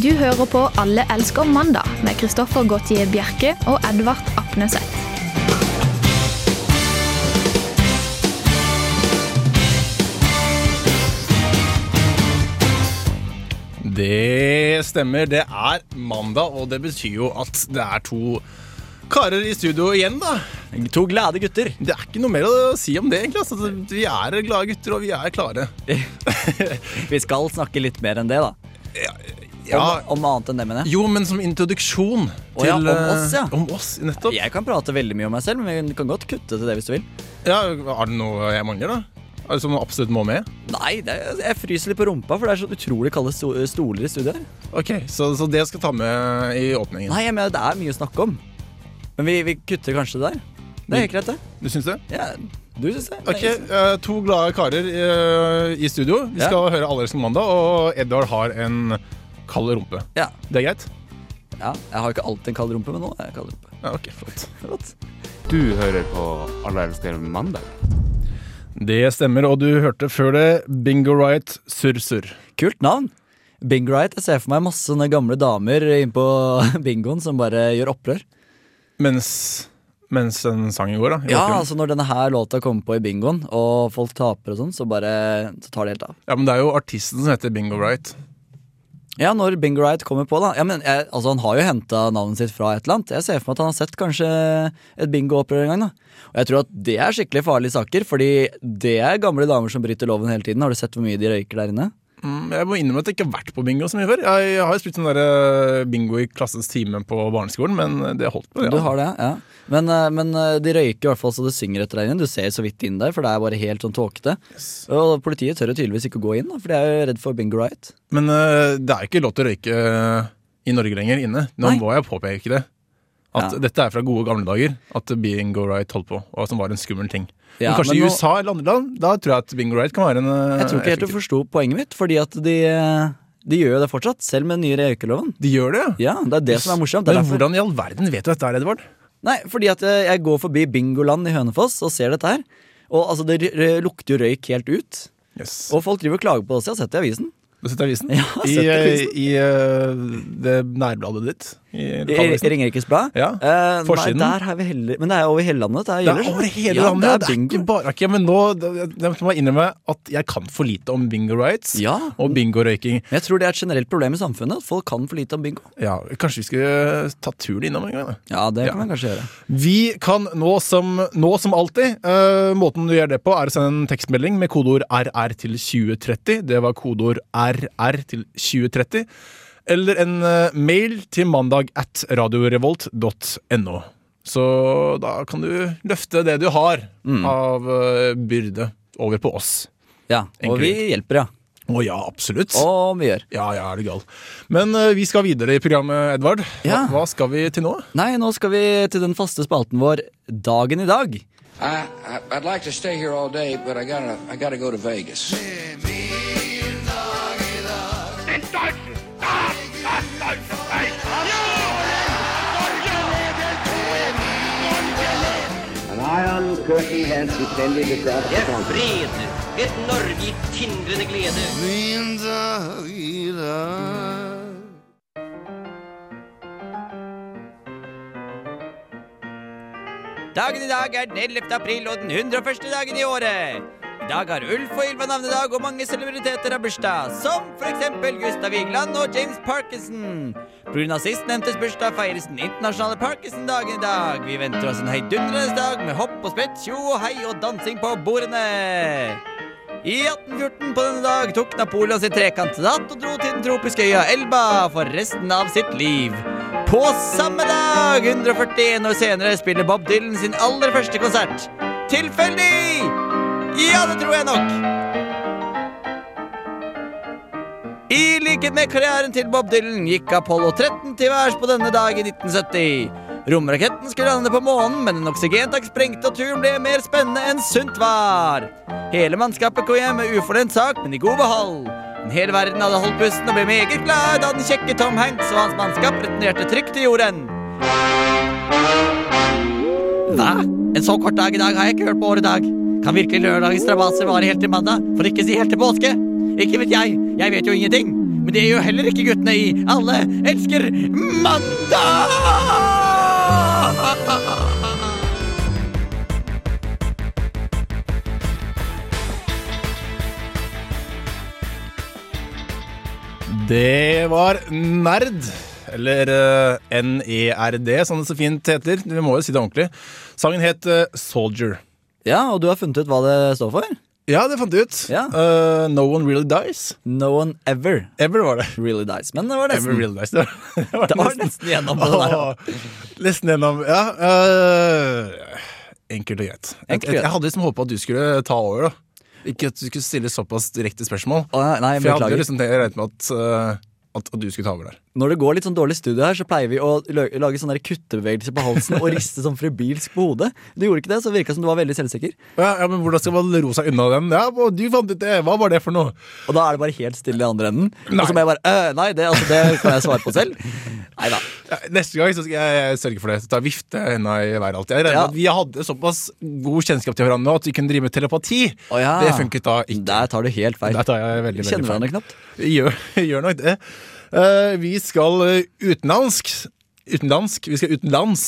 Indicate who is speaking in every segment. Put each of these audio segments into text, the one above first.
Speaker 1: Du hører på Alle elsker mandag med Kristoffer Gautier Bjerke og Edvard Apneseth.
Speaker 2: Det stemmer. Det er mandag, og det betyr jo at det er to karer i studio igjen, da.
Speaker 3: To glade gutter.
Speaker 2: Det er ikke noe mer å si om det, egentlig. Altså, vi er glade gutter, og vi er klare.
Speaker 3: Vi skal snakke litt mer enn det, da. Om, om annet enn det, mener jeg.
Speaker 2: Jo, men som introduksjon
Speaker 3: Å ja, om
Speaker 2: eh,
Speaker 3: oss, ja.
Speaker 2: Om oss, nettopp.
Speaker 3: Jeg kan prate veldig mye om meg selv, men vi kan godt kutte til det hvis du vil.
Speaker 2: Ja, Er det noe jeg mangler, da? Er det som absolutt må med?
Speaker 3: Nei, det, er- altså, jeg fryser litt på rumpa, for det er så utrolig kalde sto stoler i studio her.
Speaker 2: Ok, så, så det skal jeg ta med i åpningen.
Speaker 3: Nei, jeg mener, det er mye å snakke om. Men vi, vi kutter kanskje det der. Det er helt greit, det.
Speaker 2: Du syns det?
Speaker 3: Ja, du syns det?
Speaker 2: Ok,
Speaker 3: Nei,
Speaker 2: eh, To glade karer eh, i studio. Vi
Speaker 3: Ja.
Speaker 2: skal høre Alle elsker mandag, og Edvard har en kald rumpe.
Speaker 3: Ja,
Speaker 2: Det er greit?
Speaker 3: ja, jeg har jo ikke alltid en kald rumpe, men nå er jeg kald rumpe.
Speaker 2: Ja, ok, flott.
Speaker 3: Flott.
Speaker 4: Du hører på Alle elsker mandag.
Speaker 2: Det stemmer, og du hørte før det Bingo Right Surr-surr.
Speaker 3: Kult navn. Bing Right. Jeg ser for meg masse sånne gamle damer innpå bingoen som bare gjør opprør.
Speaker 2: Mens, mens den sangen går, da. i
Speaker 3: Ja,
Speaker 2: bakgrunnen.
Speaker 3: altså når denne her låta kommer på i bingoen, og folk taper og sånn, så bare så tar det helt av.
Speaker 2: ja, Men det er jo artisten som heter Bingo Right.
Speaker 3: Ja, når Bingo Right kommer på, da. Ja, men jeg, altså Han har jo henta navnet sitt fra et eller annet. Jeg ser for meg at han har sett kanskje et bingoopprør en gang. da Og jeg tror at det er skikkelig farlige saker, fordi det er gamle damer som bryter loven hele tiden. Har du sett hvor mye de røyker der inne?
Speaker 2: Mm, Jeg må innrømme at jeg ikke har vært på bingo så mye før. Jeg, jeg har jo spilt sånn der eh, bingo i klassens time på barneskolen, men det holdt på.
Speaker 3: Du har det, ja. Men, eh, men eh, de røyker i hvert fall så det synger etter deg inn. Du ser så vidt inn der, for det er bare helt sånn tåkete. Og politiet tør jo tydeligvis ikke å gå inn, da, for de er jo redd for bingo right.
Speaker 2: Men eh, det er jo ikke lov til å røyke eh, i Norge lenger inne. Nå
Speaker 3: Nei.
Speaker 2: må jeg påpeke det. At
Speaker 3: Ja.
Speaker 2: dette er fra gode gamle dager, at bingo right holdt på, og som var en skummel ting.
Speaker 3: Ja,
Speaker 2: men kanskje
Speaker 3: men nå-
Speaker 2: i USA eller andre land, da tror jeg at bingo right kan være en eh,
Speaker 3: Jeg tror ikke helt du
Speaker 2: effektiv-
Speaker 3: forsto poenget mitt, fordi at de, eh, de gjør jo det fortsatt, selv med den nye røykeloven.
Speaker 2: De gjør det,
Speaker 3: Ja, det er det som er morsomt. Det er
Speaker 2: Men
Speaker 3: derfor-
Speaker 2: hvordan i all verden vet du dette, her, Edvard?
Speaker 3: Nei, fordi at jeg, jeg går forbi bingoland i Hønefoss og ser dette her. Og altså, det r- r- lukter jo røyk helt ut.
Speaker 2: Yes.
Speaker 3: Og folk driver og klager på oss, jeg har sett det i avisen.
Speaker 2: Du har sett avisen?
Speaker 3: Ja, jeg har
Speaker 2: I,
Speaker 3: sett avisen.
Speaker 2: eh, i eh, det nærbladet ditt? I
Speaker 3: I i
Speaker 2: lokalavisen?
Speaker 3: Ringerikes Blad.
Speaker 2: Ja,
Speaker 3: Eh,
Speaker 2: forsiden.
Speaker 3: Nei, der har vi heller, men det er over hele landet. dette her
Speaker 2: Det er
Speaker 3: gjelder.
Speaker 2: over hele
Speaker 3: ja,
Speaker 2: landet!
Speaker 3: Det er bingo.
Speaker 2: ikke bare Ok, men nå det- jeg- Jeg må innrømme at jeg kan for lite om bingo rights
Speaker 3: Ja.
Speaker 2: og bingorøyking.
Speaker 3: Men jeg tror det er et generelt problem i samfunnet, at folk kan for lite om bingo.
Speaker 2: Ja, kanskje vi skulle ta turen innom en gang? Da.
Speaker 3: Ja, det
Speaker 2: Ja.
Speaker 3: kan man kanskje gjøre.
Speaker 2: Vi kan nå som, nå som alltid eh, Måten du gjør det på er å sende en tekstmelding med kodeord RR til 2030. Det var kodeord RR til 2030. Eller en eh, mail til mandag at radiorevolt.no. Så da kan du løfte det du har av eh, byrde over på oss.
Speaker 3: Ja, og vi hjelper, ja.
Speaker 2: Å ja, absolutt.
Speaker 3: Og vi gjør.
Speaker 2: Ja, ja, er du gal. Men eh, vi skal videre i programmet, Edvard. Hva,
Speaker 3: Ja.
Speaker 2: hva skal vi til nå?
Speaker 3: Nei, nå skal vi til den faste spalten vår Dagen i dag.
Speaker 5: I, I I'd like to stay here all day, but I gotta I gotta go to Vegas.
Speaker 6: An iron curtain has descended across the country.
Speaker 7: fred, et Norge i tindrende glede.
Speaker 3: Dagen i dag er den 11. april og den 101. dagen i året. I dag har Ulf og Ylva navnedag, og mange celebriteter har bursdag. Som f.eks. Gustav Vigeland og James Parkinson. Pga. sistnevntes bursdag feires den internasjonale Parkinson-dagen i dag. Vi venter oss en heidundrende dag med hopp og sprett, tjo og hei og dansing på bordene. I 1814 på denne dag tok Napoleon sitt trekantede hatt og dro til den tropiske øya Elba for resten av sitt liv. På samme dag, 141 år senere, spiller Bob Dylan sin aller første konsert. Tilfeldig! Ja, det tror jeg nok. I likhet med karrieren til Bob Dylan gikk Apollo 13 til værs på denne dag i 1970. Romraketten skulle lande på månen, men en oksygentank sprengte, og turen ble mer spennende enn sunt var. Hele mannskapet kom hjem med uforlent sak, men i god behold. Men hele verden hadde holdt pusten og ble meget glad da den kjekke Tom Hanks og hans mannskap returnerte trygt til jorden. Hva? En så kort dag i dag har jeg ikke hørt på året i dag. Kan virkelig lørdagens strabasser vare helt til mandag, for ikke å si helt til påske? Ikke vet jeg, jeg vet jo ingenting. Men det gjør jo heller ikke guttene i Alle elsker mandag!
Speaker 2: Det var nerd. Eller eh, NERD, som det så fint heter. Vi må jo si det ordentlig. Sangen het eh, Soldier.
Speaker 3: Ja, og du har funnet ut hva det står for?
Speaker 2: Ja, det fant jeg ut.
Speaker 3: Ja.
Speaker 2: Eh, no One Really Dies.
Speaker 3: No one ever
Speaker 2: Ever var det.
Speaker 3: really dies. Men det var
Speaker 2: Ever
Speaker 3: nesten.
Speaker 2: Really Dies. Det var,
Speaker 3: Det var nesten gjennom det der.
Speaker 2: Åh, nesten gjennom, ja. eh, enkelt og greit. Jeg,
Speaker 3: Enkelt og
Speaker 2: jeg,
Speaker 3: greit.
Speaker 2: jeg hadde liksom håpa at du skulle ta over. da. Ikke at du skulle stille såpass direkte spørsmål.
Speaker 3: Å, nei,
Speaker 2: For jeg hadde
Speaker 3: beklager.
Speaker 2: liksom tenkt- jeg regnet med at, eh, at, at du skulle ta over der.
Speaker 3: Når det går litt sånn dårlig studio her, så pleier vi å lø- lage sånne der kuttebevegelser på halsen og riste sånn fribilsk på hodet. Du gjorde ikke det, så det virka som du var veldig selvsikker.
Speaker 2: Ja, ja, men Hvordan skal man ro seg unna den? Ja, og Du fant ut det! Hva var det for noe?
Speaker 3: Og da er det bare helt stille i andre enden.
Speaker 2: Nei.
Speaker 3: Og så må jeg bare «Øh, Nei, det, altså, det kan jeg svare på selv. Nei da.
Speaker 2: Ja, Neste gang så skal jeg, jeg sørge for det. Ta vifte henda i været alltid. Jeg regner
Speaker 3: Ja.
Speaker 2: med at Vi hadde såpass god kjennskap til hverandre nå at vi kunne drive med telepati.
Speaker 3: Å ja.
Speaker 2: Det funket da ikke.
Speaker 3: Der tar du helt feil.
Speaker 2: Der tar jeg veldig,
Speaker 3: Vi
Speaker 2: veldig
Speaker 3: kjenner
Speaker 2: feil.
Speaker 3: hverandre knapt.
Speaker 2: Gjør, gjør nok det. Eh, vi skal eh, utenlandsk. Utenlandsk. Vi skal utenlands.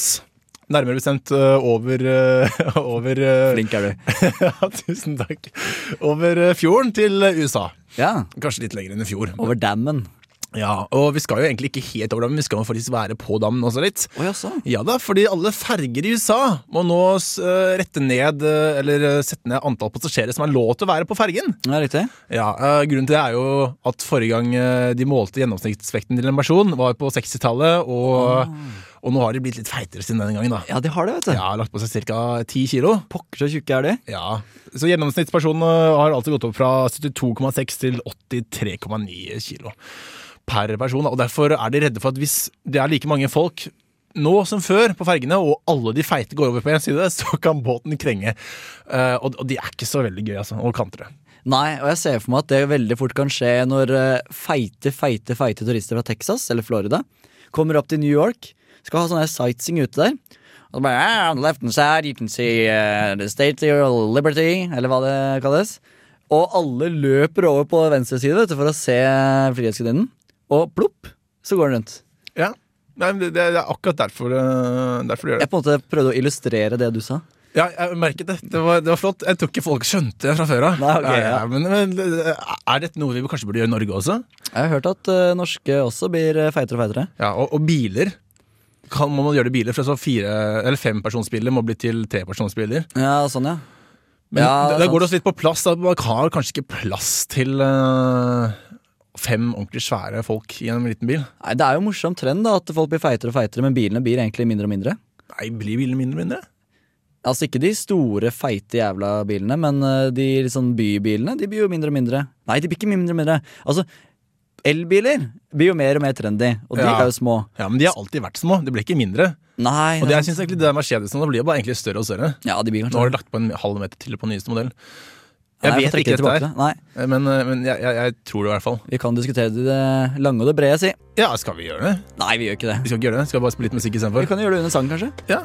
Speaker 2: Nærmere bestemt eh, over, eh, over eh,
Speaker 3: Flink er du.
Speaker 2: ja, tusen takk. Over eh, fjorden til eh, USA.
Speaker 3: Ja.
Speaker 2: Kanskje litt lenger enn i fjor.
Speaker 3: Over dammen.
Speaker 2: Ja, og vi skal jo egentlig ikke helt over dammen, vi skal jo faktisk være på dammen også litt.
Speaker 3: Å sånn. jaså.
Speaker 2: Ja da, fordi alle ferger i USA må nå eh, rette ned, eh, eller eh, sette ned antall passasjerer som er lov til å være på fergen.
Speaker 3: Ja, riktig.
Speaker 2: Ja, eh, Grunnen til det er jo at forrige gang eh, de målte gjennomsnittsvekten til en person, var på 60-tallet, og, og nå har de blitt litt feitere siden den gangen, da.
Speaker 3: Ah. Ja, de har det, vet du.
Speaker 2: Ja, lagt på seg ca. 10 kilo.
Speaker 3: Pokker så tjukke er de.
Speaker 2: Ja, Så gjennomsnittspersonen eh, har alltid gått opp fra 72,6 til 83,9 kilo per person. da. Og Derfor er de redde for at hvis det er like mange folk nå som før på fergene, og alle de feite går over på én side, så kan båten krenge. Eh, og, og de er ikke så veldig gøy altså, å kantre.
Speaker 3: Nei, og jeg ser for meg at det veldig fort kan skje når eh, feite, feite, feite turister fra Texas eller Florida kommer opp til New York, skal ha sånn her sightseeing ute der. Og så bare, "Ah, on the left hand side, you can see eh, the state of liberty, eller hva det kalles. Og alle løper over på venstre side vet du, for å se eh, Frihetsgudinnen, og plopp, så går den rundt.
Speaker 2: Ja, Nei, men det, det er akkurat derfor, eh, derfor de gjør det.
Speaker 3: Jeg på en måte prøvde å illustrere det du sa.
Speaker 2: Ja, jeg merket det. Det var, det var flott. Jeg tror ikke folk skjønte det fra før av.
Speaker 3: Nei, ok, ja.
Speaker 2: men, men eh, er dette noe vi kanskje burde gjøre i Norge også?
Speaker 3: Jeg har hørt at eh, norske også blir eh, feitere og feitere.
Speaker 2: Ja, og, og biler kan, Må man gjøre det i biler? For så fire, eller fempersonsbiler må bli til trepersonsbiler.
Speaker 3: Ja, sånn ja.
Speaker 2: Men
Speaker 3: Ja,
Speaker 2: da- da
Speaker 3: sant.
Speaker 2: går det også litt på plass. Da. Man har kanskje ikke plass til eh, fem ordentlig svære folk i en liten bil.
Speaker 3: Nei, Det er jo en morsom trend da, at folk blir feitere og feitere, men bilene blir egentlig mindre og mindre.
Speaker 2: Nei, blir bilene mindre og mindre?
Speaker 3: Altså ikke de store, feite jævla bilene, men eh, de sånn bybilene de blir jo mindre og mindre. Nei, de blir ikke mindre og mindre. Altså, elbiler blir jo mer og mer trendy, og de
Speaker 2: Ja.
Speaker 3: er jo små.
Speaker 2: Ja, Men de har alltid vært små. De ble ikke mindre.
Speaker 3: Nei,
Speaker 2: Og det,
Speaker 3: nei.
Speaker 2: jeg synes egentlig det der Mercedesen da blir jo bare egentlig større og større.
Speaker 3: ja, de blir
Speaker 2: Nå har
Speaker 3: kanskje
Speaker 2: de lagt på en halv meter til på nyeste modell.
Speaker 3: Nei,
Speaker 2: Jeg
Speaker 3: får
Speaker 2: vet
Speaker 3: trekke
Speaker 2: ikke
Speaker 3: tilbake
Speaker 2: dette
Speaker 3: det. Nei,
Speaker 2: her, men, eh, men jeg, jeg, jeg tror det i hvert fall.
Speaker 3: vi kan diskutere det lange og det brede, si.
Speaker 2: Ja, skal vi gjøre det?
Speaker 3: Nei, vi gjør ikke
Speaker 2: Vi
Speaker 3: det.
Speaker 2: skal ikke gjøre det? Skal vi bare spille litt musikk
Speaker 3: Vi
Speaker 2: istedenfor?
Speaker 3: kan jo gjøre det under sangen, kanskje.
Speaker 2: Ja.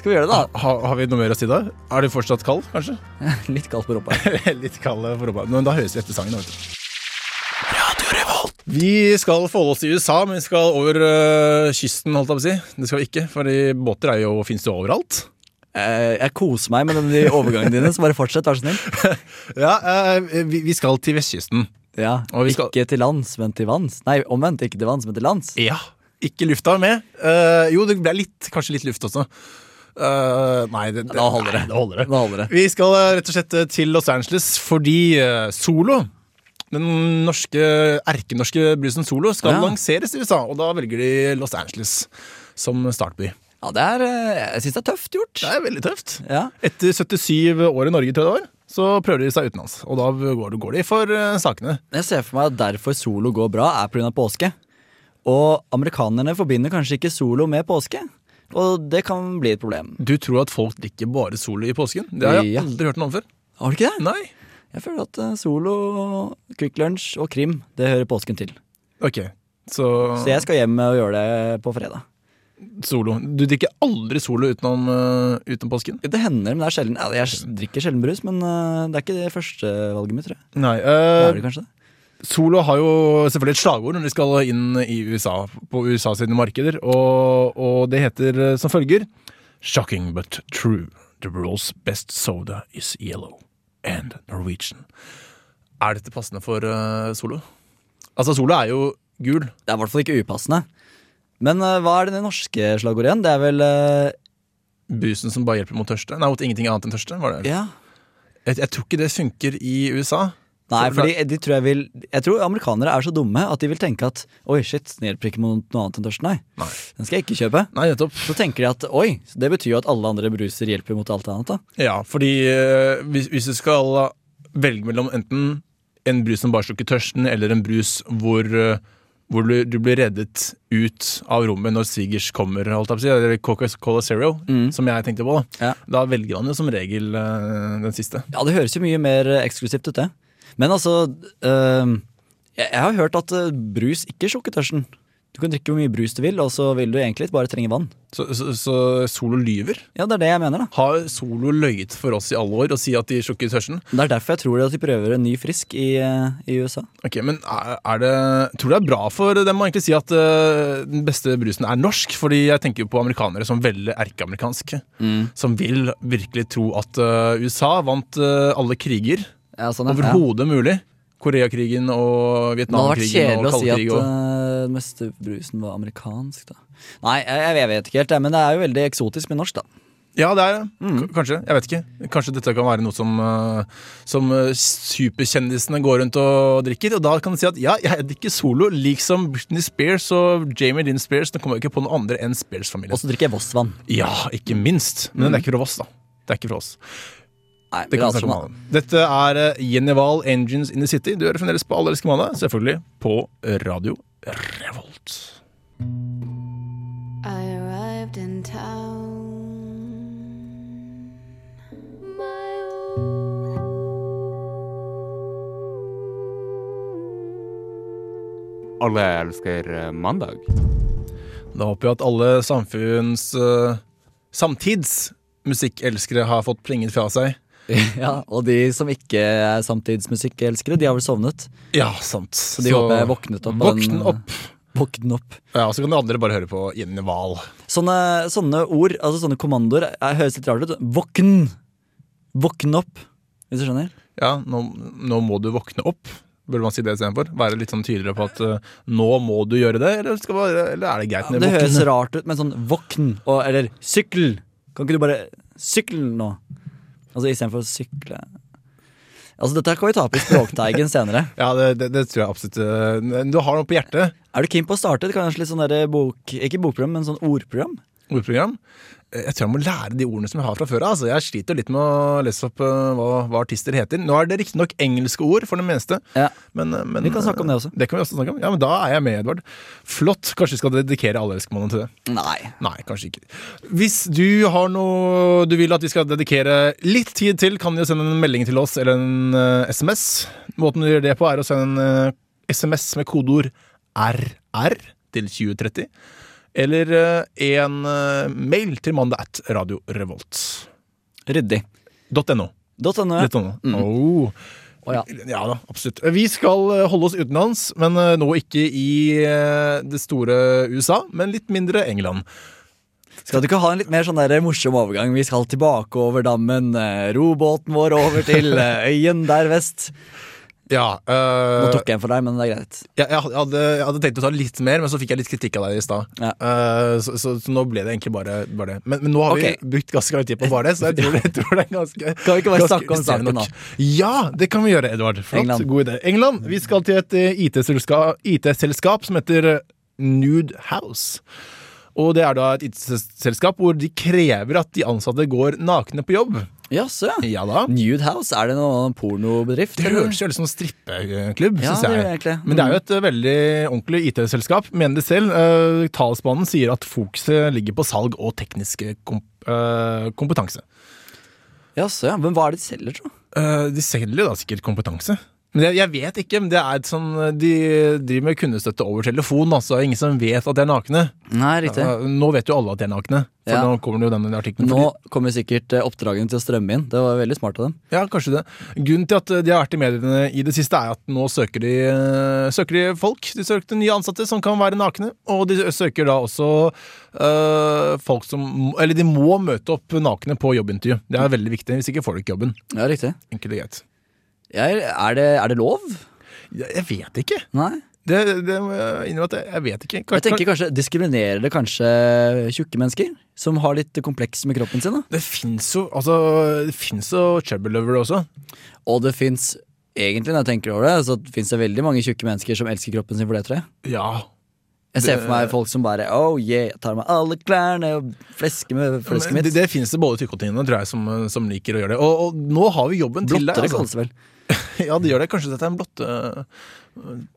Speaker 3: Skal vi gjøre det,
Speaker 2: Ha, har vi noe mer å si da? Er det fortsatt kald, kanskje?
Speaker 3: da? Litt kaldt på rumpa.
Speaker 2: Litt kald for rumpa. Men da høres vi etter sangen. da, Vet du. Vi skal forholde oss til USA, men vi skal over øh, kysten, holdt jeg på å si. Det skal vi ikke, for båter er jo, finnes jo overalt.
Speaker 3: Eh, Jeg koser meg med de overgangene dine, så bare fortsett, vær så snill.
Speaker 2: Ja, eh, vi, vi skal til vestkysten.
Speaker 3: Ja,
Speaker 2: Og vi skal-
Speaker 3: Ikke til lands, men til vanns. Nei, omvendt. Ikke til vanns, men til lands.
Speaker 2: Ja. Ikke lufta med. Eh, jo, det ble litt, kanskje litt luft også. Eh, nei, det,
Speaker 3: Da holder det.
Speaker 2: Nei, da holder det.
Speaker 3: Da holder det.
Speaker 2: Vi skal eh, rett og slett eh, til Los Angeles fordi eh, Solo, den norske, erkenorske brusen Solo, skal
Speaker 3: Ja.
Speaker 2: lanseres i USA. Og da velger de Los Angeles som startby.
Speaker 3: Ja, det er, eh, jeg syns det er tøft gjort.
Speaker 2: Det er veldig tøft.
Speaker 3: Ja.
Speaker 2: Etter 77 år i Norge, tror jeg det var, så prøver de seg utenlands. Og da går, går de for eh, sakene.
Speaker 3: Jeg ser for meg at derfor solo går bra, er pga. påske. Og amerikanerne forbinder kanskje ikke solo med påske. Og det kan bli et problem.
Speaker 2: Du tror at folk drikker bare Solo i påsken? Det har jeg
Speaker 3: Ja.
Speaker 2: aldri hørt noe om før.
Speaker 3: Har du ikke det?
Speaker 2: Nei.
Speaker 3: Jeg føler at eh, solo, Quick Lunch og krim, det hører påsken til.
Speaker 2: Ok, så,
Speaker 3: Så jeg skal hjem og gjøre det på fredag.
Speaker 2: Solo. Du drikker aldri Solo utenom, eh, utenom påsken?
Speaker 3: Det hender, men det er sjelden. ja, Jeg drikker sjelden brus, men eh, det er ikke det første valget mitt, tror jeg.
Speaker 2: Nei.
Speaker 3: Det
Speaker 2: eh,
Speaker 3: er det kanskje det?
Speaker 2: Solo har jo selvfølgelig et slagord når de skal inn i USA, på USA sine markeder, og, og det heter eh, som følger Shocking but true. The world's best soda is yellow and Norwegian. Er dette passende for eh, Solo? Altså, Solo er jo gul.
Speaker 3: Det er i hvert fall ikke upassende. Men eh, hva er det norske slagordet igjen? Det er vel eh,
Speaker 2: Busen som bare hjelper mot tørste. Nei, mot ingenting annet enn tørste. var det.
Speaker 3: Ja.
Speaker 2: Jeg, jeg tror ikke det funker i USA.
Speaker 3: Nei,
Speaker 2: For- for-
Speaker 3: fordi de tror jeg vil Jeg tror amerikanere er så dumme at de vil tenke at Oi, shit, snedeprikk mot noe annet enn tørsten, nei.
Speaker 2: Nei.
Speaker 3: Den skal jeg ikke kjøpe.
Speaker 2: Nei, nettopp.
Speaker 3: Så tenker de at oi, det betyr jo at alle andre bruser hjelper mot alt annet, da.
Speaker 2: Ja, fordi eh, hvis, hvis du skal velge mellom enten en brus som bare slukker tørsten, eller en brus hvor, eh, hvor du, du blir reddet ut av rommet når svigers kommer, holdt jeg på å si, eller Coca-Cola Zero, som jeg tenkte på, da,
Speaker 3: Ja.
Speaker 2: da velger man jo som regel eh, den siste.
Speaker 3: Ja, det høres jo mye mer eh, eksklusivt ut, det. Men altså øhm, jeg, jeg har hørt at eh, brus ikke slukker tørsten. Du kan drikke hvor mye brus du vil, og så vil du egentlig bare trenge vann.
Speaker 2: Så, så, så Solo lyver.
Speaker 3: Ja, det er det jeg mener, da.
Speaker 2: Har Solo løyet for oss i alle år og sier at de slukker tørsten?
Speaker 3: Det er derfor jeg tror at de prøver en ny frisk i, eh, i USA.
Speaker 2: Ok, men er, er det, Tror du det er bra for dem å egentlig si at eh, den beste brusen er norsk? Fordi jeg tenker jo på amerikanere som veldig erkeamerikanske.
Speaker 3: Mm.
Speaker 2: Som vil virkelig tro at eh, USA vant eh, alle kriger.
Speaker 3: Ja, sånn er det. Ja.
Speaker 2: Overhodet mulig. Koreakrigen og
Speaker 3: Det hadde vært
Speaker 2: Vietnamkrigen
Speaker 3: kjedelig
Speaker 2: og
Speaker 3: å si at
Speaker 2: kaldkrig. og...
Speaker 3: eh, den meste brusen var amerikansk, da. Nei, jeg, jeg vet ikke helt, jeg, men det er jo veldig eksotisk med norsk, da.
Speaker 2: Ja, det er det. K- Kanskje. Jeg vet ikke. Kanskje dette kan være noe som, eh, som eh, superkjendisene går rundt og drikker. Og da kan du si at ja, jeg drikker solo, liksom Britney Spears og Jamie Lynn Spears. Nå kommer jeg ikke på noen andre enn Spears-familien.
Speaker 3: Og så drikker jeg Voss-vann.
Speaker 2: Ja, ikke minst. Men det er ikke fra oss, da. Det er ikke fra oss.
Speaker 3: Nei,
Speaker 2: Det kan vi
Speaker 3: raser
Speaker 2: snakke om
Speaker 3: meg.
Speaker 2: annen. Dette er eh, Jenny Wahl, 'Engines in the City'. Du hører fremdeles på Allerske mandag, selvfølgelig på eh, Radio Revolt.
Speaker 8: I arrived in town.
Speaker 4: Alle elsker eh, mandag.
Speaker 2: Da håper jeg at alle samfunns eh, samtids musikkelskere har fått plinget fra seg.
Speaker 3: Ja, og de som ikke er samtidsmusikkelskere, de har vel sovnet.
Speaker 2: Ja, sant.
Speaker 3: Så de håper jeg våknet opp. av den-
Speaker 2: Våkn opp.
Speaker 3: Våkne opp.
Speaker 2: Ja, Så kan de andre bare høre på Jenny Wahl.
Speaker 3: Sånne, sånne ord, altså sånne kommandoer, er- høres litt rart ut. Våkn! Våkn opp, hvis du skjønner.
Speaker 2: Ja, nå, nå må du våkne opp. Burde man si det istedenfor? Være litt sånn tydeligere på at eh, nå må du gjøre det, eller, skal man, eller er det greit?
Speaker 3: Det
Speaker 2: med våkne?
Speaker 3: høres rart ut, men sånn våkn, og, eller sykkel. Kan ikke du bare sykle nå? Altså istedenfor å sykle. Altså Dette her kan vi ta opp i Språkteigen senere.
Speaker 2: Ja, det, det, det tror jeg absolutt. eh, Du har noe på hjertet,
Speaker 3: Er du keen på å starte et kanskje litt sånn derre bok... Ikke bokprogram, men sånn ordprogram?
Speaker 2: ordprogram. Eh, Jeg tror jeg må lære de ordene som jeg har fra før av. Altså, jeg sliter litt med å lese opp eh, hva, hva artister heter. Nå er det riktignok engelske ord for det meste.
Speaker 3: Ja.
Speaker 2: Men, eh, men,
Speaker 3: Vi kan snakke om det også.
Speaker 2: Det kan vi også snakke om. Ja, men Da er jeg med, Edvard. Flott. Kanskje vi skal dedikere Allelskmannen til det.
Speaker 3: Nei.
Speaker 2: Nei, kanskje ikke. Hvis du har noe du vil at vi skal dedikere litt tid til, kan du jo sende en melding til oss eller en eh, SMS. Måten du gjør det på, er å sende en eh, SMS med kodeord RR til 2030. Eller eh, en eh, mail til mandag at radiorevolt.no.
Speaker 3: Ryddig. .no.
Speaker 2: Litt sånn.
Speaker 3: Mm.
Speaker 2: Oh.
Speaker 3: Å, ja.
Speaker 2: Ja da, absolutt. Vi skal eh, holde oss utenlands, men eh, nå ikke i eh, det store USA, men litt mindre England.
Speaker 3: Skal du ikke ha en litt mer sånn der morsom overgang? Vi skal tilbake over dammen, eh, ro båten vår over til eh, øyen der vest.
Speaker 2: Ja, eh,
Speaker 3: Nå tok jeg en for deg, men det er greit.
Speaker 2: Jeg, jeg, hadde, jeg hadde tenkt å ta litt mer, men så fikk jeg litt kritikk av deg i stad.
Speaker 3: Ja.
Speaker 2: Eh, så, så, så nå ble det egentlig bare, bare det. Men, men nå har
Speaker 3: Ok.
Speaker 2: vi brukt ganske lang tid på bare det, så jeg tror, jeg tror det er ganske
Speaker 3: Kan vi ikke bare
Speaker 2: ganske
Speaker 3: snakke om
Speaker 2: streng
Speaker 3: saken
Speaker 2: nok.
Speaker 3: da?
Speaker 2: Ja, det kan vi gjøre, Edvard. Flott.
Speaker 3: England.
Speaker 2: God idé. England. Vi skal til et eh, IT-selskap IT-selskap som heter eh, Nude House. Og det er da et IT-selskap hvor de krever at de ansatte går nakne på jobb.
Speaker 3: Jaså, ja.
Speaker 2: Ja da.
Speaker 3: Nude House, er det noen pornobedrift?
Speaker 2: Det
Speaker 3: eller?
Speaker 2: høres jo veldig som strippeklubb,
Speaker 3: Ja,
Speaker 2: synes
Speaker 3: det
Speaker 2: jeg.
Speaker 3: gjør det egentlig. Mm.
Speaker 2: Men det er jo et eh, veldig ordentlig IT-selskap, mener de selv. Eh, talsmannen sier at fokuset ligger på salg og teknisk eh, kom eh, kompetanse.
Speaker 3: Jaså, ja. Men hva er det de selger, tro?
Speaker 2: Eh, de selger da sikkert kompetanse. Men jeg, jeg vet ikke, men det er et sånn De driver med kundestøtte over telefon, altså. Ingen som vet at de er nakne.
Speaker 3: Nei, riktig.
Speaker 2: Ja, Nå vet jo alle at de er nakne, for
Speaker 3: Ja.
Speaker 2: nå kommer det jo den artikkelen.
Speaker 3: Nå
Speaker 2: Fordi-
Speaker 3: kommer sikkert eh, oppdragene til å strømme inn. Det var veldig smart av dem.
Speaker 2: Ja, kanskje det. Grunnen til at de har vært i mediene i det siste, er at nå søker de, eh, søker de folk. De søkte nye ansatte som kan være nakne, og de søker da også eh, folk som Eller de må møte opp nakne på jobbintervju. Det er veldig viktig, hvis ikke får du ikke jobben.
Speaker 3: Ja, riktig.
Speaker 2: Enkelt og greit.
Speaker 3: Jeg, er, det, er det lov?
Speaker 2: Jeg, jeg vet ikke.
Speaker 3: Nei.
Speaker 2: Det, det må jeg innrømme at jeg, jeg vet ikke.
Speaker 3: Jeg tenker kanskje, Diskriminerer det kanskje tjukke mennesker? Som har litt kompleks med kroppen sin? da?
Speaker 2: Det fins jo altså, det finnes jo chubby-lovere også.
Speaker 3: Og det fins egentlig, når jeg tenker over det, så finnes det veldig mange tjukke mennesker som elsker kroppen sin for det, tror jeg.
Speaker 2: Ja.
Speaker 3: Jeg ser for meg folk som bare oh yeah, jeg tar av meg alle klærne og flesker med flesket
Speaker 2: Men
Speaker 3: mitt.
Speaker 2: det, det finnes det både tykke og tynne, tror jeg, som, som liker å gjøre det. Og, og nå har vi jobben til deg.
Speaker 3: Blottere
Speaker 2: altså.
Speaker 3: kalles det vel.
Speaker 2: Ja, det gjør det. Kanskje dette er en blotte... eh,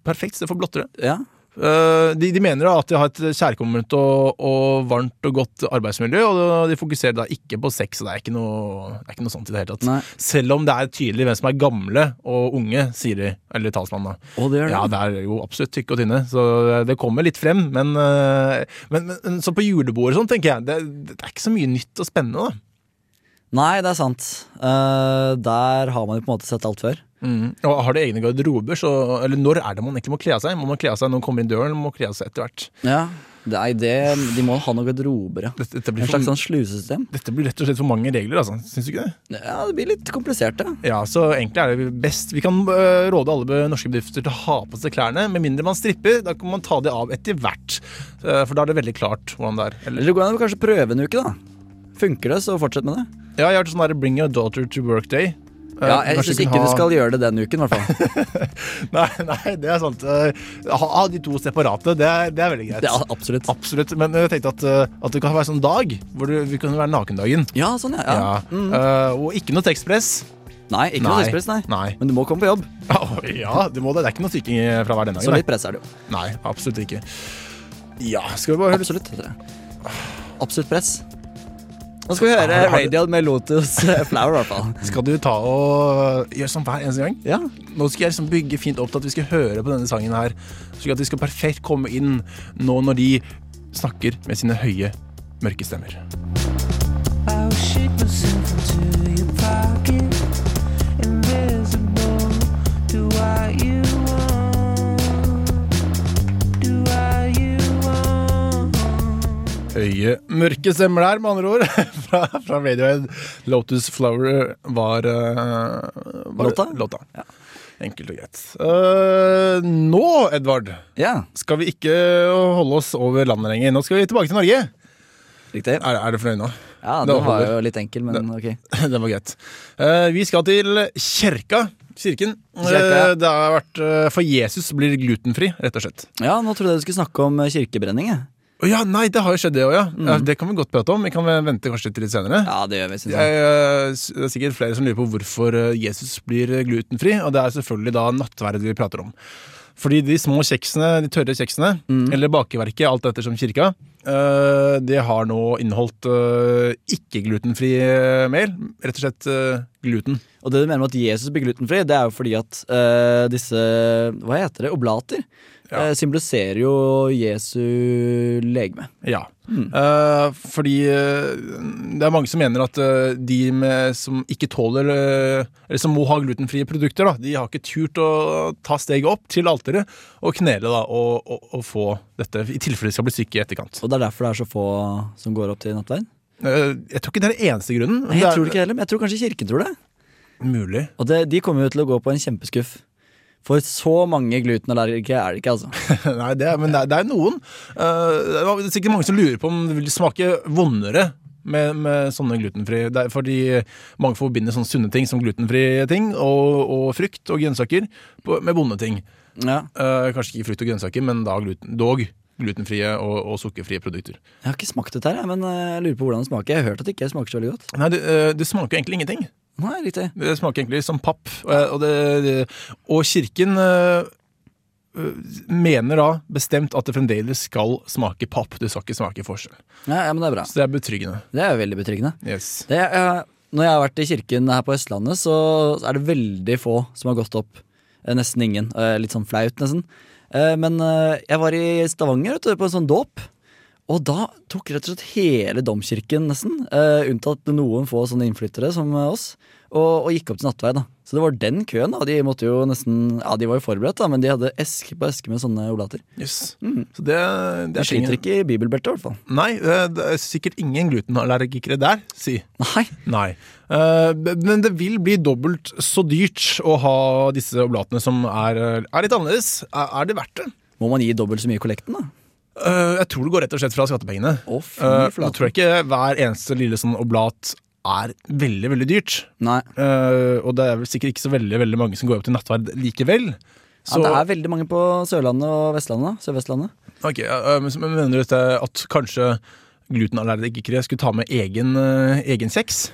Speaker 2: Perfekt sted for blottere.
Speaker 3: Ja.
Speaker 2: Eh, De, de mener da at de har et kjærkomment og, og varmt og godt arbeidsmiljø, og de fokuserer da ikke på sex. og Det er ikke noe, det er ikke noe sånt i det hele tatt.
Speaker 3: Nei.
Speaker 2: Selv om det er tydelig hvem som er gamle og unge, sier de. Eller talsmannen, da.
Speaker 3: Å, det gjør det.
Speaker 2: Ja, det er jo absolutt tykke og tynne, så det kommer litt frem. Men, eh, men, men så på julebordet og sånn, tenker jeg, det, det er ikke så mye nytt og spennende, da.
Speaker 3: Nei, det er sant. Eh, der har man jo på en måte sett alt før.
Speaker 2: Mm. Og har de egne garderober, så Eller når er det man egentlig må kle av seg? Må man kle av seg når man kommer inn døren, eller må man kle av seg etter hvert?
Speaker 3: Ja. Nei, det, de må ha noen garderober, ja.
Speaker 2: Dette, dette,
Speaker 3: En
Speaker 2: blir
Speaker 3: slags
Speaker 2: for,
Speaker 3: sånn slusesystem.
Speaker 2: dette blir rett og slett for mange regler, altså. Syns du ikke det?
Speaker 3: Ja, det blir litt komplisert, ja.
Speaker 2: Ja, så egentlig er det best Vi kan øh, råde alle be- norske bedrifter til å ha på seg klærne, med mindre man stripper. Da kan man ta det av etter hvert. Eh, For da er det veldig klart hvordan det er. Eller,
Speaker 3: Eller går det an å kanskje prøve en uke, da? Funker det, så fortsett med det.
Speaker 2: ja, jeg har hørt sånn der Bring your daughter to work day. Eh,
Speaker 3: Ja, jeg
Speaker 2: kanskje
Speaker 3: syns
Speaker 2: vi kan
Speaker 3: ikke du
Speaker 2: ha-
Speaker 3: skal gjøre det den uken, i hvert fall.
Speaker 2: Nei, nei, det er sant. Eh, Ha, ha de to separate. Det er, det er veldig greit.
Speaker 3: Det er absolutt.
Speaker 2: Absolutt. Men jeg tenkte at, eh, at det kan være sånn dag hvor du, vi kan være nakendagen.
Speaker 3: Ja, sånn, ja. ja.
Speaker 2: Ja. Eh, og ikke noe tekstpress.
Speaker 3: Nei, ikke noe
Speaker 2: Nei.
Speaker 3: tidspress, nei.
Speaker 2: Nei.
Speaker 3: Men du må komme på jobb,
Speaker 2: Å, ja, du må det. det er ikke noe tykking fra hver denne
Speaker 3: så
Speaker 2: gangen.
Speaker 3: litt press er det jo.
Speaker 2: Nei, absolutt ikke. Ja, skal vi bare høre
Speaker 3: Absolutt. heter det. Absolutt press. Nå skal vi høre
Speaker 2: Har- har du-
Speaker 3: Radio med Lotus eh, Flower, i hvert fall.
Speaker 2: Skal du ta og gjøre sånn hver eneste gang?
Speaker 3: Ja.
Speaker 2: Nå skal jeg liksom bygge fint opp til at vi skal høre på denne sangen her, slik at vi skal perfekt komme inn nå når de snakker med sine høye, mørke stemmer. Høye, mørke stemmer der, med andre ord. fra, fra Radiohead. Lotus Flower var, eh, var
Speaker 3: Låta?
Speaker 2: låta. Enkelt og greit. Eh, nå, Edvard,
Speaker 3: ja,
Speaker 2: skal vi ikke holde oss over landet lenger. Nå skal vi tilbake til Norge.
Speaker 3: riktig.
Speaker 2: Er, er du fornøyd nå?
Speaker 3: Ja,
Speaker 2: Det
Speaker 3: Den var
Speaker 2: holder.
Speaker 3: jo litt enkel, men ok.
Speaker 2: Det var greit. Eh, vi skal til kirka. Kirken.
Speaker 3: Kirka, ja.
Speaker 2: Eh, det har vært eh, For Jesus blir glutenfri, rett og slett.
Speaker 3: Ja, nå trodde jeg du skulle snakke om eh, kirkebrenning, jeg.
Speaker 2: Å ja, nei, det har jo skjedd, det òg, ja. Mm. ja. Det kan vi godt prate om. Vi kan vente kanskje til litt senere.
Speaker 3: Ja, det gjør vi, synes jeg.
Speaker 2: Jeg, eh, s- det er sikkert flere som lurer på hvorfor eh, Jesus blir eh, glutenfri, og det er selvfølgelig da nattverd vi prater om. Fordi de små kjeksene, de tørre kjeksene, eller bakeverket, alt etter som kirka, eh, det har nå inneholdt eh, ikke-glutenfri eh, mel. Rett og slett eh, gluten.
Speaker 3: Og det du mener med at Jesus blir glutenfri, det er jo fordi at eh, disse hva heter det, oblater
Speaker 2: Ja.
Speaker 3: eh, symboliserer jo Jesu legeme.
Speaker 2: Ja. Eh, fordi eh, det er mange som mener at eh, de med, som ikke tåler eh, Eller som må ha glutenfrie produkter, da, de har ikke turt å ta steget opp til alteret og knele da, og, og, og få dette, i tilfelle de skal bli syke i etterkant.
Speaker 3: Og det er derfor det er så få som går opp til nattverd.
Speaker 2: Eh, jeg tror ikke det er den eneste grunnen.
Speaker 3: Nei, jeg tror det
Speaker 2: det
Speaker 3: ikke heller, men jeg tror kanskje kirken tror det.
Speaker 2: er mulig.
Speaker 3: Og det, de kommer jo til å gå på en kjempeskuff. For så mange glutenallergikere er det ikke, altså.
Speaker 2: Nei, det er, men det er, det er noen. Eh, det er sikkert mange som lurer på om det vil smake vondere med, med sånne glutenfri det er Fordi mange forbinder sånne sunne ting som glutenfrie ting, og, og frukt og grønnsaker på, med vonde ting.
Speaker 3: Ja.
Speaker 2: Eh, kanskje ikke frukt og grønnsaker, men da gluten, dog glutenfrie og, og sukkerfrie produkter.
Speaker 3: Jeg har ikke smakt dette her, jeg, men eh, jeg lurer på hvordan det smaker. Jeg har hørt at det ikke smaker så veldig godt.
Speaker 2: Nei, det, eh, det smaker jo egentlig ingenting.
Speaker 3: Nei, riktig.
Speaker 2: Det smaker egentlig som papp. Eh, Og, og, det, det, og kirken øh, øh, mener da bestemt at det fremdeles skal smake papp. Det skal ikke smake forskjell.
Speaker 3: Ja, ja, men det er bra.
Speaker 2: Så det er betryggende.
Speaker 3: Det er jo veldig betryggende.
Speaker 2: Yes.
Speaker 3: Det, eh, når jeg har vært i kirken her på Østlandet, så er det veldig få som har gått opp Eh, Nesten ingen. Eh, Litt sånn flaut, nesten. Eh, Men eh, jeg var i Stavanger vet du, på en sånn dåp. Og da tok rett og slett hele domkirken, nesten, eh, unntatt noen få sånne innflyttere som eh, oss, og, og gikk opp til nattvei. da. Så det var den køen. da, De måtte jo nesten, ja, de var jo forberedt, da, men de hadde eske på eske med sånne olater.
Speaker 2: Yes. Så det, det
Speaker 3: De
Speaker 2: er tingen.
Speaker 3: Mm. sliter ikke i bibelbeltet, i hvert fall.
Speaker 2: Nei, det det er sikkert ingen glutenallergikere der, si.
Speaker 3: Nei.
Speaker 2: Nei. Eh, men det vil bli dobbelt så dyrt å ha disse oblatene som er, er litt annerledes. Er, er det verdt det?
Speaker 3: Må man gi dobbelt så mye i kollekten, da?
Speaker 2: Eh, jeg tror det går rett og slett fra skattepengene.
Speaker 3: Å, fy
Speaker 2: Eh,
Speaker 3: flate.
Speaker 2: nå tror jeg ikke hver eneste lille sånn oblat er veldig, veldig dyrt.
Speaker 3: Nei.
Speaker 2: Eh, og det er vel sikkert ikke så veldig, veldig mange som går opp til nattverd likevel. Så,
Speaker 3: Ja, det er veldig mange på Sørlandet og Vestlandet. da. Sør-Vestlandet.
Speaker 2: Ok, eh, men så- men mener du dette at kanskje glutenallergikere skulle ta med egen, eh, egen kjeks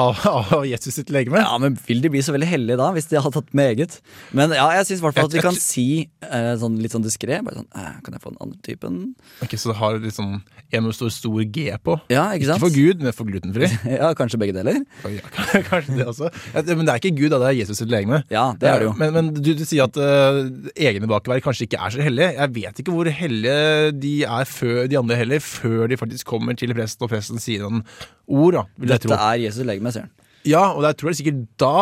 Speaker 2: av, av Jesus sitt legeme?
Speaker 3: Ja, men vil de bli så veldig heldige da, hvis de har tatt med eget? Men ja, jeg syns i hvert fall at vi
Speaker 2: Jeg- jeg
Speaker 3: kan
Speaker 2: tr-
Speaker 3: si eh, sånn, litt sånn diskré bare sånn, eh, Kan jeg få den andre typen?
Speaker 2: Ok, Så det har litt sånn en med stor, stor G på.
Speaker 3: Ja, ikke sant?
Speaker 2: Ikke for Gud, men for glutenfri.
Speaker 3: Ja, kanskje begge deler.
Speaker 2: Ja, Kanskje det også. Ja, det- Men det er ikke Gud, da, det er Jesus sitt legeme.
Speaker 3: Ja, det er det jo.
Speaker 2: Men, men du, du sier at eh, egne bakerverk kanskje ikke er så hellige. Jeg vet ikke hvor hellige de er før de andre heller, før de faktisk kommer til presten, og presten sier noen ord, da, vil jeg
Speaker 3: Dette
Speaker 2: tro.
Speaker 3: er Jesus legeme, sier han.
Speaker 2: Ja, og jeg tror det er sikkert da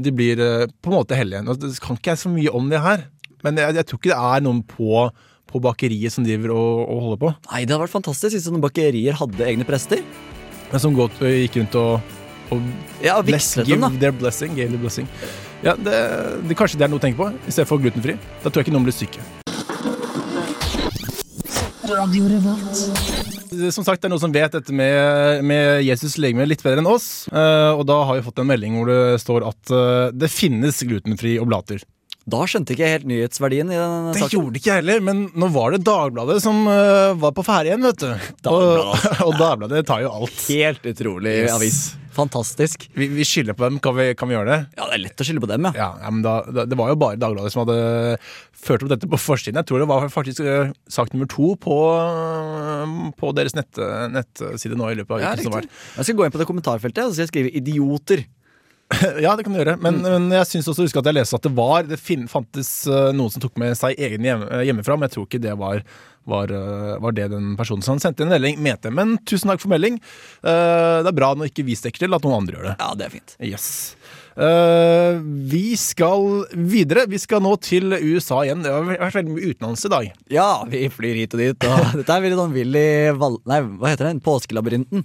Speaker 2: de blir eh, på en måte hellige. Nå det kan ikke jeg så mye om det her, men jeg, jeg tror ikke det er noen på, på bakeriet som driver og, og holder på,
Speaker 3: Nei, det hadde vært fantastisk hvis sånne bakerier hadde egne prester.
Speaker 2: men som godt eh, gikk rundt og, og
Speaker 3: Ja,
Speaker 2: Bless,
Speaker 3: vigslet
Speaker 2: give
Speaker 3: dem, da.
Speaker 2: their blessing, give their blessing. Ja, det, det, kanskje det er noe å tenke på, i stedet for glutenfri. Da tror jeg ikke noen blir syke. Som sagt, det er noen som vet dette med, med Jesus' legeme litt bedre enn oss. eh, og da har vi fått en melding hvor det står at eh, det finnes glutenfri oblater.
Speaker 3: Da skjønte ikke jeg helt nyhetsverdien i den
Speaker 2: Det
Speaker 3: saken.
Speaker 2: gjorde ikke jeg heller, men nå var det Dagbladet som eh, var på ferde igjen, vet du. Og, og Dagbladet tar jo alt.
Speaker 3: Helt utrolig
Speaker 2: Yes.
Speaker 3: avis. Fantastisk.
Speaker 2: Vi, vi skylder på dem. Kan vi, kan vi gjøre det?
Speaker 3: Ja, det er lett å skylde på dem, ja.
Speaker 2: Ja, ja men da, da, Det var jo bare Dagbladet som hadde ført opp dette på forsiden. Jeg tror det var faktisk eh, sak nummer to på, eh, på deres nett, nettside nå i løpet av
Speaker 3: Ja,
Speaker 2: uken som
Speaker 3: riktig.
Speaker 2: var.
Speaker 3: Jeg skal gå inn på det kommentarfeltet og så skal jeg skrive 'idioter'.
Speaker 2: Ja, det kan du gjøre,
Speaker 3: Mm.
Speaker 2: men, men jeg syns også husk at jeg leste at det var Det fin, fantes eh, noen som tok med seg egen hjem, eh, hjemmefra, men jeg tror ikke det var, var, eh, var det den personen som sendte inn melding, mente. Men tusen takk for melding. Eh, Det er bra når ikke vi stikker til, at noen andre gjør det.
Speaker 3: Ja, det er fint.
Speaker 2: Yes. Eh, vi skal videre. Vi skal nå til USA igjen. Det har vært veldig mye utenlands i dag.
Speaker 3: Ja, vi flyr hit og dit. Og dette er veldig sånn Willy Val... Nei, hva heter den? Påskelabyrinten.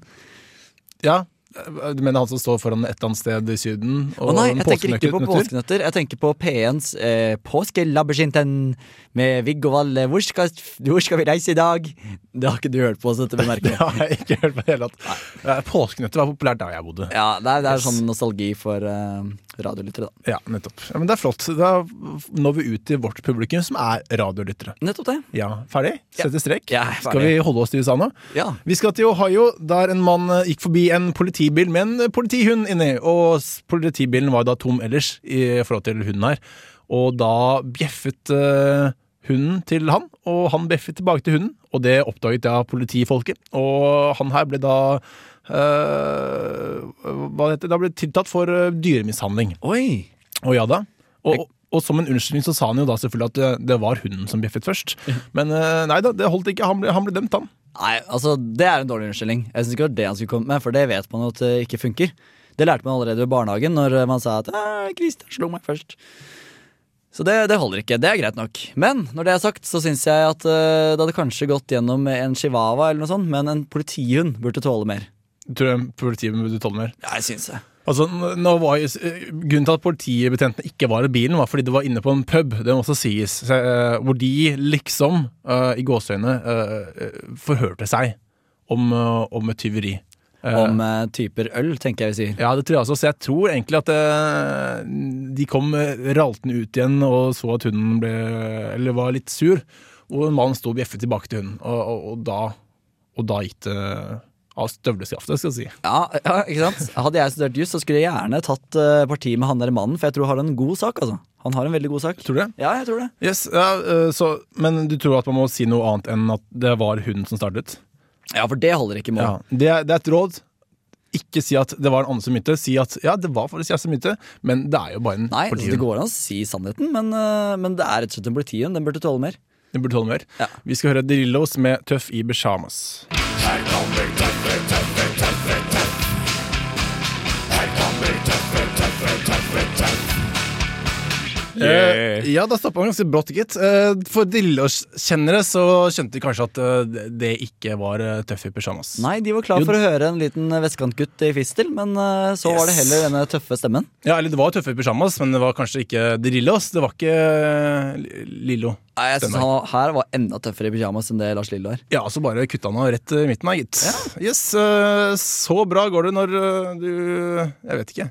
Speaker 2: Ja, Eh, Du mener han som står foran et eller annet sted i Syden?
Speaker 3: Å nei, jeg tenker ikke på
Speaker 2: påskenøtter?
Speaker 3: påskenøtter. Jeg tenker på P1s eh, Påskelabyrinten med Viggo Valle. Hvor skal, hvor skal vi reise i dag? Det har ikke du hørt på oss, dette
Speaker 2: Det
Speaker 3: bemerker jeg.
Speaker 2: har jeg ikke hørt på i det hele tatt. Eh, Påskenøtter var populært der jeg bodde.
Speaker 3: Ja, det er, det er sånn nostalgi for eh, radiolyttere, da.
Speaker 2: Ja, nettopp. Ja, men det er flott. Da når vi ut til vårt publikum, som er radiolyttere.
Speaker 3: Nettopp det.
Speaker 2: Ja, ferdig? Sette strek?
Speaker 3: Ja, jeg er
Speaker 2: skal vi
Speaker 3: ferdig.
Speaker 2: holde oss til USA nå?
Speaker 3: Ja.
Speaker 2: Vi skal til Ohio, der en mann eh, gikk forbi en politibil med en eh, politihund inni. Og s- politibilen var da tom ellers i forhold til hunden her. Og da bjeffet eh, hunden til han, og han bjeffet tilbake til hunden. Og det oppdaget da politifolket. Og han her ble da eh, Hva heter det? Da ble tiltatt for eh, dyremishandling.
Speaker 3: Oi.
Speaker 2: Og ja da. Og, og som en unnskyldning så sa han jo da selvfølgelig at eh, det, det var hunden som bjeffet først. Men eh, nei da, det holdt ikke. Han ble, han ble dømt, han.
Speaker 3: Nei, altså, det er en dårlig unnskyldning. Jeg synes ikke det var det han skulle komme med, for det vet man jo at det ikke funker. Det lærte man allerede ved barnehagen, når man sa at «Ah, 'Christian slo meg først'. Så det, det holder ikke. Det er greit nok. Men når det er sagt, så syns jeg at eh, det hadde kanskje gått gjennom en chihuahua, eller noe sånt, men en politihund burde tåle mer.
Speaker 2: Tror jeg politiet burde tåle mer.
Speaker 3: Ja, jeg syns det.
Speaker 2: Altså, n- nå var jo, s- eh, grunnen til at politibetjentene ikke var i bilen, var fordi det var inne på en pub, det må også sies, så, eh, hvor de liksom, eh, i gåsøgne, forhørte seg om, eh, om et tyveri. Eh,
Speaker 3: Om eh, typer øl, tenker jeg vi sier.
Speaker 2: Ja, det tror jeg også, så jeg tror egentlig at eh, de kom eh, raltende ut igjen og så at hunden ble, eller var litt sur, og en mann sto og bjeffet tilbake til hunden, og, og, og, da, og da gikk det av støvleskaftet, skal jeg si.
Speaker 3: Ja, ja, ikke sant? Hadde jeg studert juss, så skulle jeg gjerne tatt eh, parti med han der mannen, for jeg tror han har en god sak, altså. Han har en veldig god sak.
Speaker 2: Tror du det?
Speaker 3: Ja, jeg tror det.
Speaker 2: Yes, ja, eh, så, Men du tror at man må si noe annet enn at det var hun som startet?
Speaker 3: Ja, for det holder ikke mål.
Speaker 2: Ja, Det, er- det er et råd. Ikke si at det var en annen som begynte. Si at ja, det var faktisk jeg som begynte, men det er jo bare en
Speaker 3: Nei, altså, det
Speaker 2: politihund.
Speaker 3: går an å si sannheten, men, eh, men det er rett og slett en politihund. Den burde tåle mer.
Speaker 2: Den burde tåle mer.
Speaker 3: Ja.
Speaker 2: Vi skal høre Drillos med Tøff i besjamas. Eh,
Speaker 4: Yeah.
Speaker 2: Eh, ja, da stoppa han ganske brått, gitt. Eh, for Drillos-kjennere så skjønte de kanskje at eh, det ikke var eh, Tøff i besjamas.
Speaker 3: Nei, de var klar
Speaker 2: Jo.
Speaker 3: for å høre en liten eh, vestkantgutt i fistel, men eh, så var det
Speaker 2: Yes.
Speaker 3: heller denne tøffe stemmen.
Speaker 2: Ja, eller Det var Tøffe i pysjamas, men det var kanskje ikke Drillos. Det var ikke eh, Li- Lillo.
Speaker 3: Nei, jeg synes
Speaker 2: Stemmer.
Speaker 3: han var, Her var enda tøffere i pyjamas enn det Lars Lillo er.
Speaker 2: Ja, så bare kutta han av rett i midten her, gitt. Yes, eh, Så bra går det når eh, du Jeg vet ikke.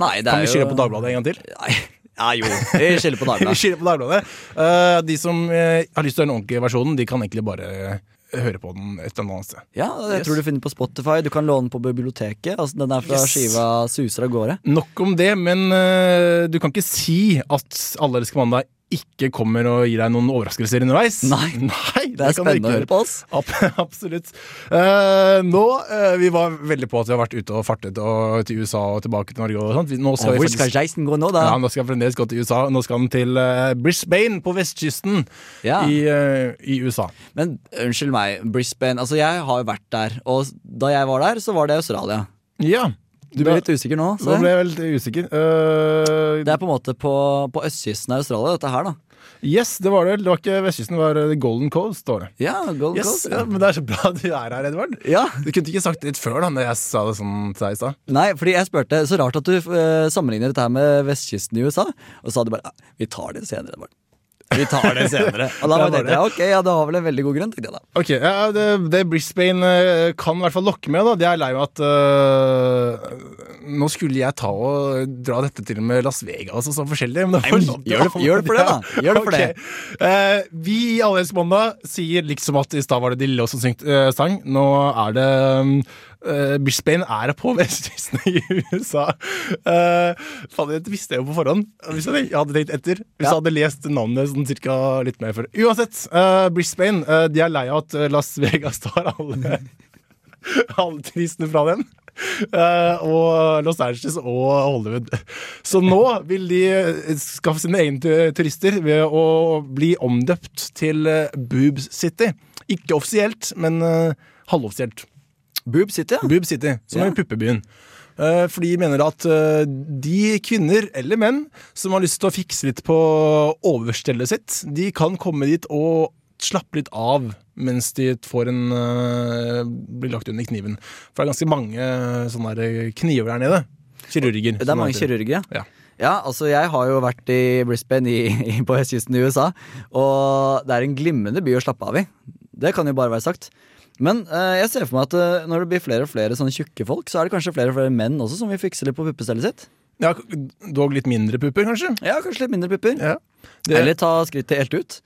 Speaker 3: Nei, det
Speaker 2: Kan
Speaker 3: er
Speaker 2: vi skylde
Speaker 3: jo...
Speaker 2: på Dagbladet en gang til?
Speaker 3: Nei, ja, jo, vi skylder på
Speaker 2: Vi
Speaker 3: Dagbladet.
Speaker 2: skylder på Dagbladet. Eh, De som eh, har lyst til å høre den ordentlige versjonen, de kan egentlig bare eh, høre på den et eller annet sted.
Speaker 3: Ja, jeg
Speaker 2: Yes.
Speaker 3: tror du finner den på Spotify. Du kan låne den på biblioteket. Altså, den er fra
Speaker 2: Yes.
Speaker 3: skiva Suser av gårde.
Speaker 2: Nok om det, men eh, du kan ikke si at Alle elsker mandag ikke kommer og gir deg noen overraskelser underveis.
Speaker 3: Nei.
Speaker 2: Nei
Speaker 3: Det
Speaker 2: kan du ikke
Speaker 3: er spennende å
Speaker 2: gjøre.
Speaker 3: høre på oss.
Speaker 2: Ab absolutt. Eh, nå, eh, Vi var veldig på at vi har vært ute og fartet og, til USA og tilbake til Norge. og sånt. Vi- Nå skal
Speaker 3: Og
Speaker 2: vi
Speaker 3: hvor skal
Speaker 2: faktisk...
Speaker 3: Jason gå nå, da?
Speaker 2: Ja, nå skal han fremdeles gå til USA. Nå skal han til eh, Brisbane på vestkysten
Speaker 3: Ja.
Speaker 2: i, eh, i USA.
Speaker 3: Men unnskyld meg, Brisbane. Altså, jeg har jo vært der. Og da jeg var der, så var det Australia.
Speaker 2: Ja.
Speaker 3: Du blir litt usikker nå.
Speaker 2: Nå
Speaker 3: Så.
Speaker 2: ble jeg veldig usikker. Eh,
Speaker 3: Det er på en måte på, på østkysten av Australia, dette her, da.
Speaker 2: Yes, det var det. Det var ikke vestkysten, det var eh, Golden Coast. Står det.
Speaker 3: Ja, Gold
Speaker 2: Yes,
Speaker 3: Coast.
Speaker 2: ja, men det er så bra du er her, Edvard.
Speaker 3: Ja.
Speaker 2: Du kunne ikke sagt det litt før da når jeg sa det sånn til deg i stad.
Speaker 3: Nei, fordi jeg spurte Så rart at du eh, sammenligner dette her med vestkysten i USA. Og så hadde du bare «Ja, Vi tar det senere. Bare. Vi tar det senere. Og
Speaker 2: Det
Speaker 3: da
Speaker 2: er
Speaker 3: bare tenkte jeg ok, ja, det har vel en veldig god grunn. Tenkte jeg da
Speaker 2: Ok, ja, det, det Brisbane eh, kan i hvert fall lokke med, da. Det er jeg lei meg at eh, Nå skulle jeg ta og dra dette til med Las Vegas og sånn forskjellig. Men det
Speaker 3: Nei,
Speaker 2: var
Speaker 3: men
Speaker 2: lov-
Speaker 3: gjør det- gjør det for det, da. Gjør det for det.
Speaker 2: Ok. Eh, vi i Alle elsker mandag sier liksom at i stad var det De Lille som syngte eh, sang. Nå er det eh, Brisbane er på vestkysten i USA. Uh, Faen, dette visste jeg jo på forhånd. Hvis jeg, jeg hadde tenkt etter. Hvis
Speaker 3: Ja.
Speaker 2: jeg hadde lest navnet sånn cirka litt mer før. Uansett, eh, Brisbane eh, de er lei av at eh, Las Vegas tar alle, alle turistene fra dem. Eh, og Los Angeles og Hollywood. Så nå vil de eh, skaffe sine egne tu- turister ved å bli omdøpt til eh, Boobs City. Ikke offisielt, men eh, halvoffisielt.
Speaker 3: Boob City, ja.
Speaker 2: Boob City, som er
Speaker 3: Ja.
Speaker 2: puppebyen. Eh, For de mener at eh, de kvinner eller menn som har lyst til å fikse litt på overstellet sitt, de kan komme dit og slappe litt av mens de får en eh, blir lagt under kniven. For det er ganske mange eh, sånne der kniver der nede. Kirurger.
Speaker 3: Det
Speaker 2: som
Speaker 3: er mange
Speaker 2: heter.
Speaker 3: kirurger,
Speaker 2: Ja.
Speaker 3: Ja, altså Jeg har jo vært i Brisbane i, i, på østkysten i USA, og det er en glimrende by å slappe av i. Det kan jo bare være sagt. Men eh, jeg ser for meg at eh, når det blir flere og flere sånne tjukke folk, så er det kanskje flere og flere menn også som vil fikse litt på puppestellet sitt.
Speaker 2: Ja, dog litt mindre pupper, kanskje.
Speaker 3: Ja, kanskje litt mindre pupper.
Speaker 2: Ja. Det,
Speaker 3: Eller ta skrittet helt ut.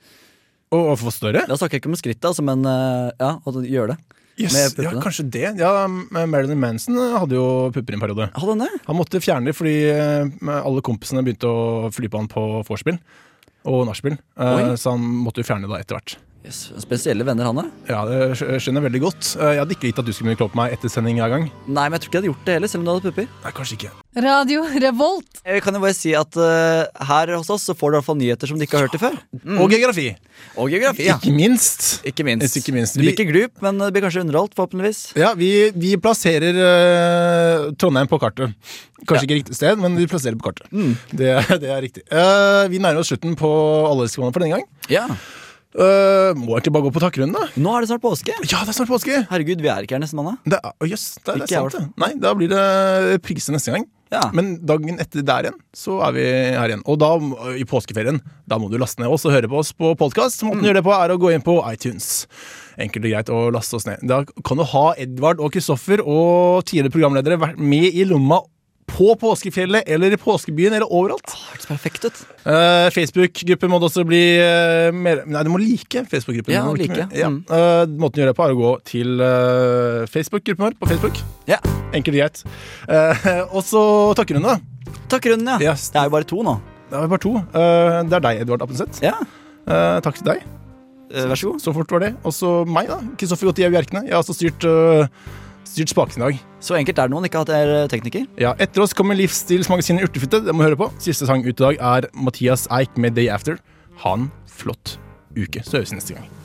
Speaker 2: og, og få større?
Speaker 3: Da snakker jeg ikke om skrittet, altså, men eh, ja, og gjør det.
Speaker 2: Yes,
Speaker 3: med
Speaker 2: ja,
Speaker 3: puppene.
Speaker 2: kanskje det. Ja, Marilyn Manson eh, hadde jo pupper i en periode.
Speaker 3: Hadde han det?
Speaker 2: Han måtte fjerne det fordi eh, alle kompisene begynte å fly på han på vorspiel og nachspiel. Eh,
Speaker 3: Oi.
Speaker 2: Så han måtte jo fjerne det etter hvert.
Speaker 3: Yes, spesielle venner, han er.
Speaker 2: Ja, Det skj- skjønner jeg veldig godt. Eh, Jeg hadde ikke likt at du skulle begynne å klå på meg etter sending hver gang.
Speaker 3: Nei, men jeg tror ikke jeg hadde gjort det heller, selv om du hadde pupper.
Speaker 2: Nei, kanskje ikke.
Speaker 8: Radio Revolt.
Speaker 3: Jeg kan jo bare si at eh, her hos oss så får du i hvert fall nyheter som du ikke har hørt det før. Mm.
Speaker 2: Og geografi!
Speaker 3: Og geografi, ja.
Speaker 2: Ikke minst.
Speaker 3: Ikke minst.
Speaker 2: Ikke minst.
Speaker 3: Det blir ikke glup, men det blir kanskje underholdt, forhåpentligvis.
Speaker 2: Ja, vi, vi plasserer eh, Trondheim på kartet. Kanskje ikke riktig sted, men vi plasserer på kartet. Det, det er riktig. Eh, vi nærmer oss slutten på Alle elsker mandag for denne gang.
Speaker 3: Ja.
Speaker 2: Eh, må jeg ikke bare gå på takkerunden, da?
Speaker 3: Nå er det snart påske.
Speaker 2: Ja, det er snart påske!
Speaker 3: Herregud, vi er ikke her neste mandag.
Speaker 2: Det er, å, jøss, det er, det
Speaker 3: Ikke jeg,
Speaker 2: er sant det. Nei, da blir det pigse neste gang.
Speaker 3: Ja.
Speaker 2: Men dagen etter der igjen, så er vi her igjen. Og da, m- i påskeferien, da må du laste ned oss og høre på oss på podkast. Måten
Speaker 3: Mm.
Speaker 2: du gjør det på, er å gå inn på iTunes. Enkelt og greit å laste oss ned. Da kan du ha Edvard og Kristoffer og tidligere programledere vært med i lomma på påskefjellet eller i påskebyen eller overalt.
Speaker 3: Det hørtes perfekt ut.
Speaker 2: Eh, Facebook-gruppen må du også bli eh, mer Nei, du må like Facebook-gruppen.
Speaker 3: Ja,
Speaker 2: Du må
Speaker 3: like,
Speaker 2: Ja.
Speaker 3: mm.
Speaker 2: Eh, måten du gjør det på, er å gå til eh, Facebook-gruppen vår på Facebook.
Speaker 3: Ja.
Speaker 2: Enkelt og greit. Eh, og så takkerunde.
Speaker 3: Takkerunden, ja.
Speaker 2: Yes.
Speaker 3: Det er jo bare to nå.
Speaker 2: Det er bare to. Eh, det er deg, Edvard Appenseth.
Speaker 3: Ja.
Speaker 2: Eh, takk til deg.
Speaker 3: Eh, Vær så god.
Speaker 2: Så fort var det. Og så meg, da. Kristoffer Gautier Bjerkne. Jeg har også styrt eh, Styrt spaken i dag.
Speaker 3: Så enkelt er det noen ikke at jeg er tekniker.
Speaker 2: Ja, etter oss kommer livsstilsmagasinet Urtefitte. Det må du høre på. Siste sang ut i dag er Mathias Eik med Day After. Ha en flott uke. Så høres vi neste gang.